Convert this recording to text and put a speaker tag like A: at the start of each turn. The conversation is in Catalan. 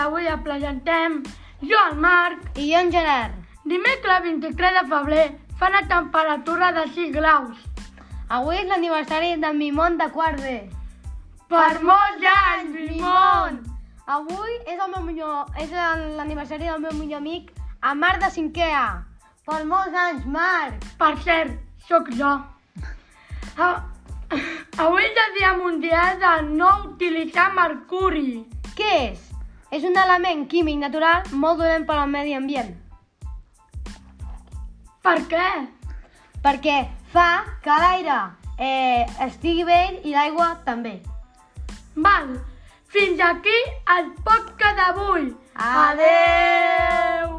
A: avui el presentem jo, el Marc.
B: I jo en Gerard.
A: Dimecres 23 de febrer fa una temperatura de 6 graus.
B: Avui és l'aniversari d'en Mimon de quart B.
A: Per molts anys, Mimon!
B: Avui és el meu millor, és el- l'aniversari del meu millor amic, a Marc de cinquè A. Per molts anys, Marc!
A: Per cert, sóc jo. A... Avui és el dia mundial de no utilitzar mercuri.
B: Què és? És un element químic natural molt dolent per al medi ambient,
A: Per què?
B: perquè fa que l'aire eh, estigui vell i l'aigua també.
A: Val, fins aquí el podcast d'avui.
B: Adeu!